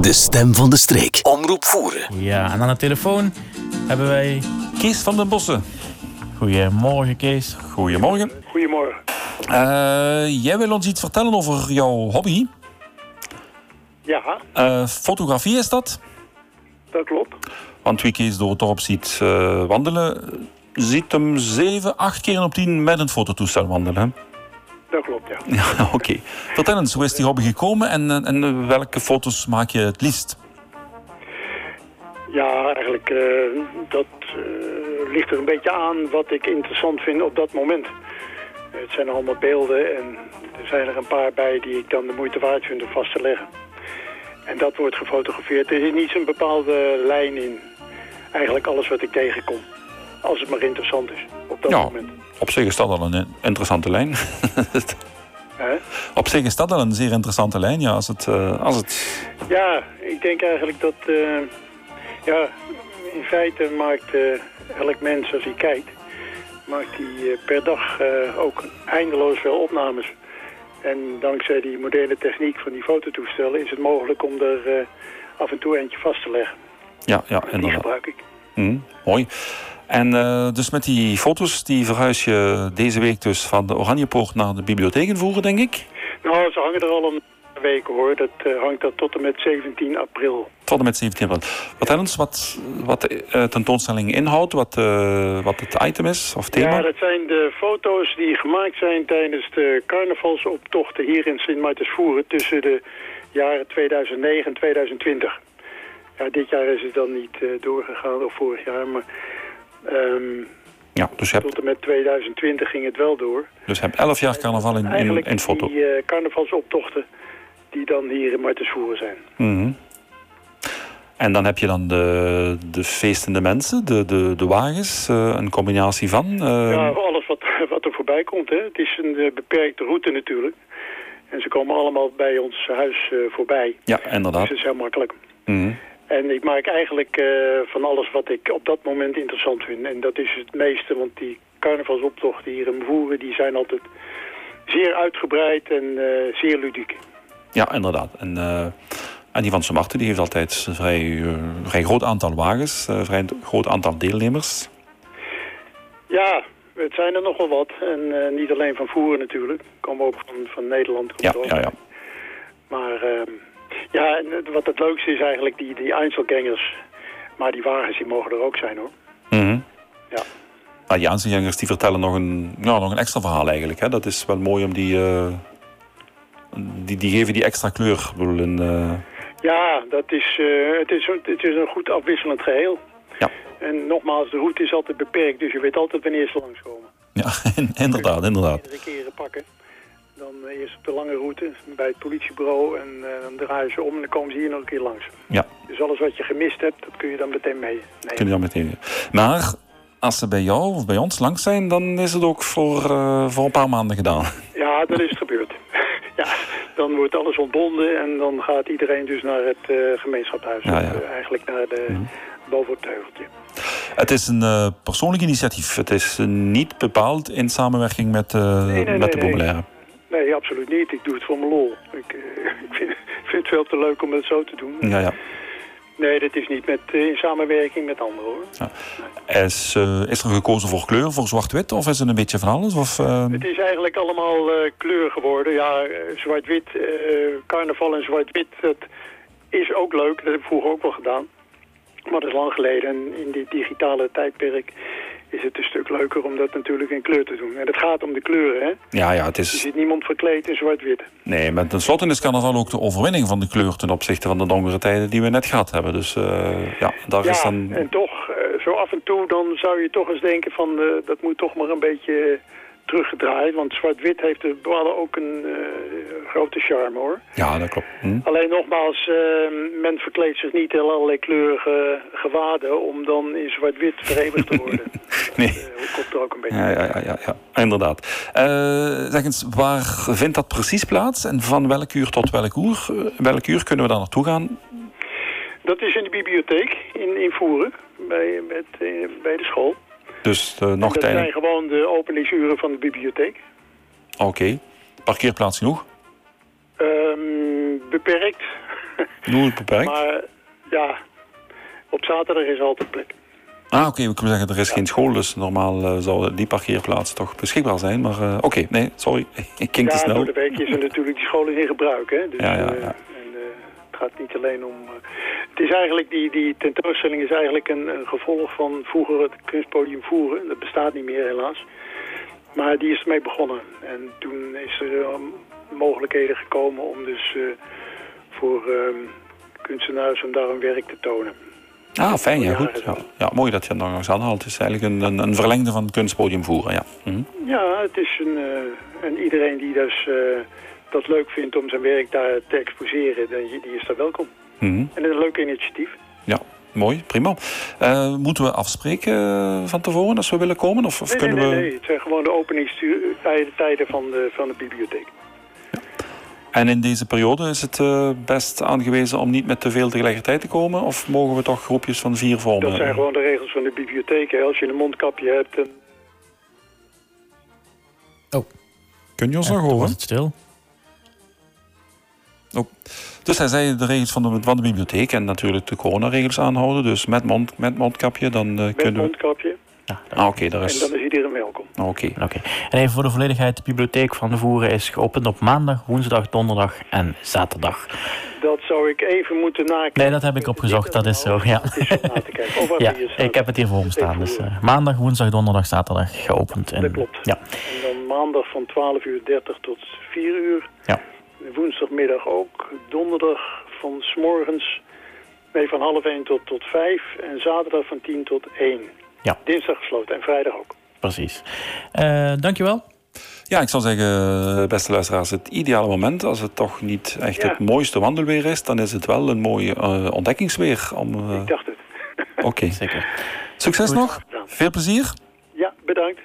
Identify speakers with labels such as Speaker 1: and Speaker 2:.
Speaker 1: De stem van de streek. Omroep voeren.
Speaker 2: Ja, en aan de telefoon hebben wij...
Speaker 3: Kees van den Bossen.
Speaker 2: Goedemorgen, Kees.
Speaker 3: Goedemorgen.
Speaker 4: Goedemorgen.
Speaker 3: Eh, jij wil ons iets vertellen over jouw hobby.
Speaker 4: Ja,
Speaker 3: Eh, fotografie is dat.
Speaker 4: dat klopt.
Speaker 3: Want wie Kees door het dorp ziet eh, wandelen, ziet hem zeven, acht keer op tien met een fototoestel wandelen. hè?
Speaker 4: Dat klopt, ja.
Speaker 3: Ja, oké. Vertel eens, hoe is die hobby gekomen en, en, en welke foto's maak je het liefst?
Speaker 4: Ja, eigenlijk, eh, dat eh, ligt er een beetje aan wat ik interessant vind op dat moment. Het zijn allemaal beelden en er zijn er een paar bij die ik dan de moeite waard vind om vast te leggen. En dat wordt gefotografeerd. Er is niet zo'n bepaalde lijn in. Eigenlijk alles wat ik tegenkom. Als het maar interessant is op dat
Speaker 3: Ja.
Speaker 4: moment.
Speaker 3: Op zich is dat al een interessante lijn.
Speaker 4: Hè?
Speaker 3: Op zich is dat al een zeer interessante lijn, ja. Als het, eh, als het...
Speaker 4: Ja, ik denk eigenlijk dat... eh, ja, in feite maakt eh, elk mens als hij kijkt... maakt hij eh, per dag eh, ook eindeloos veel opnames. En dankzij die moderne techniek van die fototoestellen... is het mogelijk om er eh, af en toe eentje vast te leggen.
Speaker 3: Ja, ja,
Speaker 4: Die
Speaker 3: inderdaad.
Speaker 4: gebruik ik.
Speaker 3: Hm, mooi. En eh, dus met die foto's, die verhuis je deze week dus van de Oranjepoort naar de bibliotheek invoeren, denk ik.
Speaker 4: Nou, ze hangen er al een week hoor. Dat eh, hangt dat tot en met 17 april.
Speaker 3: Tot en met 17 april. Vertel ons wat, wat de eh, tentoonstelling inhoudt, wat, eh, wat het item is of thema.
Speaker 4: Ja, dat zijn de foto's die gemaakt zijn tijdens de carnavalsoptochten hier in Sint Maartensvoeren tussen de jaren 2009 en 2020. Ja, dit jaar is het dan niet eh, doorgegaan, of vorig jaar, maar ehm,
Speaker 3: Ja, dus je hebt,
Speaker 4: tot en met 2020 ging het wel door.
Speaker 3: dus je hebt 11 jaar carnaval in, in,
Speaker 4: Eigenlijk
Speaker 3: in foto.
Speaker 4: die eh, carnavalsoptochten die dan hier in Maartensvoeren zijn.
Speaker 3: Mhm. En dan heb je dan de, de feestende mensen, de, de, de wagens, eh, een combinatie van. eh,
Speaker 4: Ja, alles wat, wat er voorbij komt. Hè. Het is een eh, beperkte route natuurlijk. En ze komen allemaal bij ons huis eh, voorbij.
Speaker 3: ja, inderdaad.
Speaker 4: Dus het is heel makkelijk.
Speaker 3: Mhm.
Speaker 4: En ik maak eigenlijk eh, van alles wat ik op dat moment interessant vind. En dat is het meeste, want die carnavalsoptochten hier in Voeren... die zijn altijd zeer uitgebreid en eh, zeer ludiek.
Speaker 3: Ja, inderdaad. En, eh, en die van Smarten die heeft altijd een vrij, eh, vrij groot aantal wagens, een vrij groot aantal deelnemers.
Speaker 4: Ja, het zijn er nogal wat. En eh, niet alleen van Voeren natuurlijk. Komen ook van, van Nederland. komt
Speaker 3: Ja,
Speaker 4: ook.
Speaker 3: ja, ja.
Speaker 4: Maar ehm, ja, en het- wat het leukste is eigenlijk die, die Einzelgangers. Maar die wagens die mogen er ook zijn hoor.
Speaker 3: Mhm.
Speaker 4: Ja.
Speaker 3: Nou, die aanzienjangers die vertellen nog een, ja, nog een extra verhaal eigenlijk. Hè. Dat is wel mooi om die, eh, die... Die geven die extra kleur. Ik bedoel, een, eh,
Speaker 4: Ja, dat is, eh, het, is, een- het is een goed afwisselend geheel.
Speaker 3: Ja.
Speaker 4: En nogmaals, de route is altijd beperkt, dus je weet altijd wanneer ze langskomen.
Speaker 3: ja, inderdaad, inderdaad.
Speaker 4: Iedere keren pakken. Dan eh, eerst op de lange route bij het politiebureau en eh, dan draaien ze om en dan komen ze hier nog een keer langs.
Speaker 3: Ja.
Speaker 4: Dus alles wat je gemist hebt, dat kun je dan meteen mee.
Speaker 3: Kun je dan meteen. Maar als ze bij jou of bij ons langs zijn, dan is het ook voor, eh, voor een paar maanden gedaan.
Speaker 4: Ja, dat is het gebeurd. ja, dan wordt alles ontbonden en dan gaat iedereen dus naar het eh, gemeenschapshuis.
Speaker 3: Ja, Mhm. ja.
Speaker 4: Of, eh, eigenlijk naar de boven het heuveltje.
Speaker 3: Het is een eh, persoonlijk initiatief. Het is eh, niet bepaald in samenwerking met, eh,
Speaker 4: nee,
Speaker 3: met de
Speaker 4: nee.
Speaker 3: populaire.
Speaker 4: Nee, absoluut niet. Ik doe het voor mijn lol. Ik, eh, ik vind, ik vind het veel te leuk om het zo te doen.
Speaker 3: Ja, ja.
Speaker 4: Nee, dat is niet met, eh, in samenwerking met anderen hoor.
Speaker 3: Is, eh, is er gekozen voor kleur, voor zwart-wit? Of is het een beetje van alles? Of, eh,
Speaker 4: Het is eigenlijk allemaal eh, kleur geworden. Ja, eh, zwart-wit, eh, carnaval en zwart-wit, dat is ook leuk. Dat heb ik vroeger ook wel gedaan. Maar dat is lang geleden. En in dit digitale tijdperk is het een stuk leuker om dat natuurlijk in kleur te doen. En het gaat om de kleuren, hè.
Speaker 3: Ja, ja, het
Speaker 4: Er
Speaker 3: is...
Speaker 4: zit niemand verkleed in zwart-wit.
Speaker 3: Nee, maar tenslotte is carnaval ook de overwinning van de kleur... ten opzichte van de donkere tijden die we net gehad hebben. Dus eh, ja, daar is
Speaker 4: Ja,
Speaker 3: dan...
Speaker 4: en toch, eh, zo af en toe, dan zou je toch eens denken van... eh, dat moet toch maar een beetje eh, teruggedraaid. Want zwart-wit heeft de ballen ook een eh, grote charme, hoor.
Speaker 3: Ja, dat klopt. Hm?
Speaker 4: Alleen nogmaals, eh, men verkleedt zich niet in allerlei kleurige gewaden... om dan in zwart-wit vereenigd te worden.
Speaker 3: Nee.
Speaker 4: Eh, Dat komt er ook een beetje.
Speaker 3: Ja, ja, ja, ja, ja. inderdaad. Eh, zeg eens, waar vindt dat precies plaats? En van welk uur tot welk uur? Eh, Welk uur kunnen we daar naartoe gaan?
Speaker 4: Dat is in de bibliotheek in, in Voeren, bij, met, eh, bij de school.
Speaker 3: Dus eh, nog
Speaker 4: dat
Speaker 3: tijdens...
Speaker 4: zijn gewoon de openingsuren van de bibliotheek.
Speaker 3: Ah, Oké. Parkeerplaats genoeg?
Speaker 4: Ehm, beperkt.
Speaker 3: Doelwit beperkt.
Speaker 4: Maar ja, op zaterdag is altijd plek.
Speaker 3: Ah, oké, we kunnen zeggen, er is geen school, dus normaal eh, zou die parkeerplaats toch beschikbaar zijn. Maar eh, oké, nee, sorry, ik ging
Speaker 4: ja,
Speaker 3: te snel.
Speaker 4: door de week is er natuurlijk die scholen in gebruik. Hè? Dus,
Speaker 3: Ja, ja,
Speaker 4: eh,
Speaker 3: ja.
Speaker 4: en, eh, het gaat niet alleen om... eh, het is eigenlijk, die, die tentoonstelling is eigenlijk een, een gevolg van vroeger het kunstpodium voeren. Dat bestaat niet meer helaas. Maar die is ermee begonnen. En toen is er eh, mogelijkheden gekomen om dus eh, voor eh, kunstenaars om daar hun werk te tonen.
Speaker 3: Ah, fijn, ja,
Speaker 4: Ja,
Speaker 3: goed.
Speaker 4: dat is
Speaker 3: Ja,
Speaker 4: wel.
Speaker 3: Ja, mooi dat je het nog eens aanhaalt. Het is eigenlijk een, een, een verlengde van het kunstpodium voeren, ja. Mhm.
Speaker 4: Ja, het is een... eh, en iedereen die dus... eh, dat leuk vindt om zijn werk daar te exposeren, die die is daar welkom.
Speaker 3: Mhm.
Speaker 4: En dat is een leuk initiatief.
Speaker 3: Ja, mooi, prima. Eh, moeten we afspreken eh, van tevoren als we willen komen? Of, of
Speaker 4: Nee, nee,
Speaker 3: kunnen
Speaker 4: nee,
Speaker 3: we...
Speaker 4: nee, het zijn gewoon de openingstijden van de, van de bibliotheek.
Speaker 3: En in deze periode is het eh, best aangewezen om niet met te veel tegelijkertijd te komen? Of mogen we toch groepjes van vier vormen?
Speaker 4: Dat zijn gewoon de regels van de bibliotheek. hè. Als je een mondkapje hebt, dan
Speaker 3: Kun je ons
Speaker 2: En
Speaker 3: nog
Speaker 2: toen was
Speaker 3: horen?
Speaker 2: het stil.
Speaker 3: Dus hij zei de regels van
Speaker 4: Mhm.
Speaker 3: de, van de bibliotheek en natuurlijk de coronaregels aanhouden. Dus met, mond, met mondkapje, dan eh,
Speaker 4: met
Speaker 3: kunnen we...
Speaker 4: mondkapje.
Speaker 2: Ja, dat-
Speaker 3: Ah, oké, daar
Speaker 4: En
Speaker 3: is...
Speaker 4: dan is iedereen welkom.
Speaker 3: Oké.
Speaker 2: Oké. En even voor de volledigheid, de bibliotheek van de Voeren is geopend op maandag, woensdag, donderdag en zaterdag.
Speaker 4: Dat zou ik even moeten nakijken.
Speaker 2: Nee, dat heb ik opgezocht, dat is zo, ja.
Speaker 4: Het is om na te kijken. Of wat
Speaker 2: Ja,
Speaker 4: hier staat.
Speaker 2: ik heb het hier voor me staan. Dus eh, maandag, woensdag, donderdag, zaterdag geopend. En,
Speaker 4: Dat klopt.
Speaker 2: Ja,
Speaker 4: En dan maandag van 12 uur 30 tot 4 uur.
Speaker 2: Ja.
Speaker 4: Woensdagmiddag ook. Donderdag van 's morgens. Nee, van half 1 tot, tot 5. En zaterdag van 10 tot 1.
Speaker 2: Ja.
Speaker 4: Dinsdag gesloten en vrijdag ook.
Speaker 2: precies. Eh, dankjewel.
Speaker 3: Ja, ik zou zeggen, eh, beste luisteraars, het ideale moment, als het toch niet echt
Speaker 4: Ja.
Speaker 3: het mooiste wandelweer is, dan is het wel een mooie eh, ontdekkingsweer. Om, eh,
Speaker 4: Ik dacht het.
Speaker 3: Oké.
Speaker 2: Zeker.
Speaker 3: Succes nog.
Speaker 4: Ja.
Speaker 3: Veel plezier.
Speaker 4: Ja, bedankt.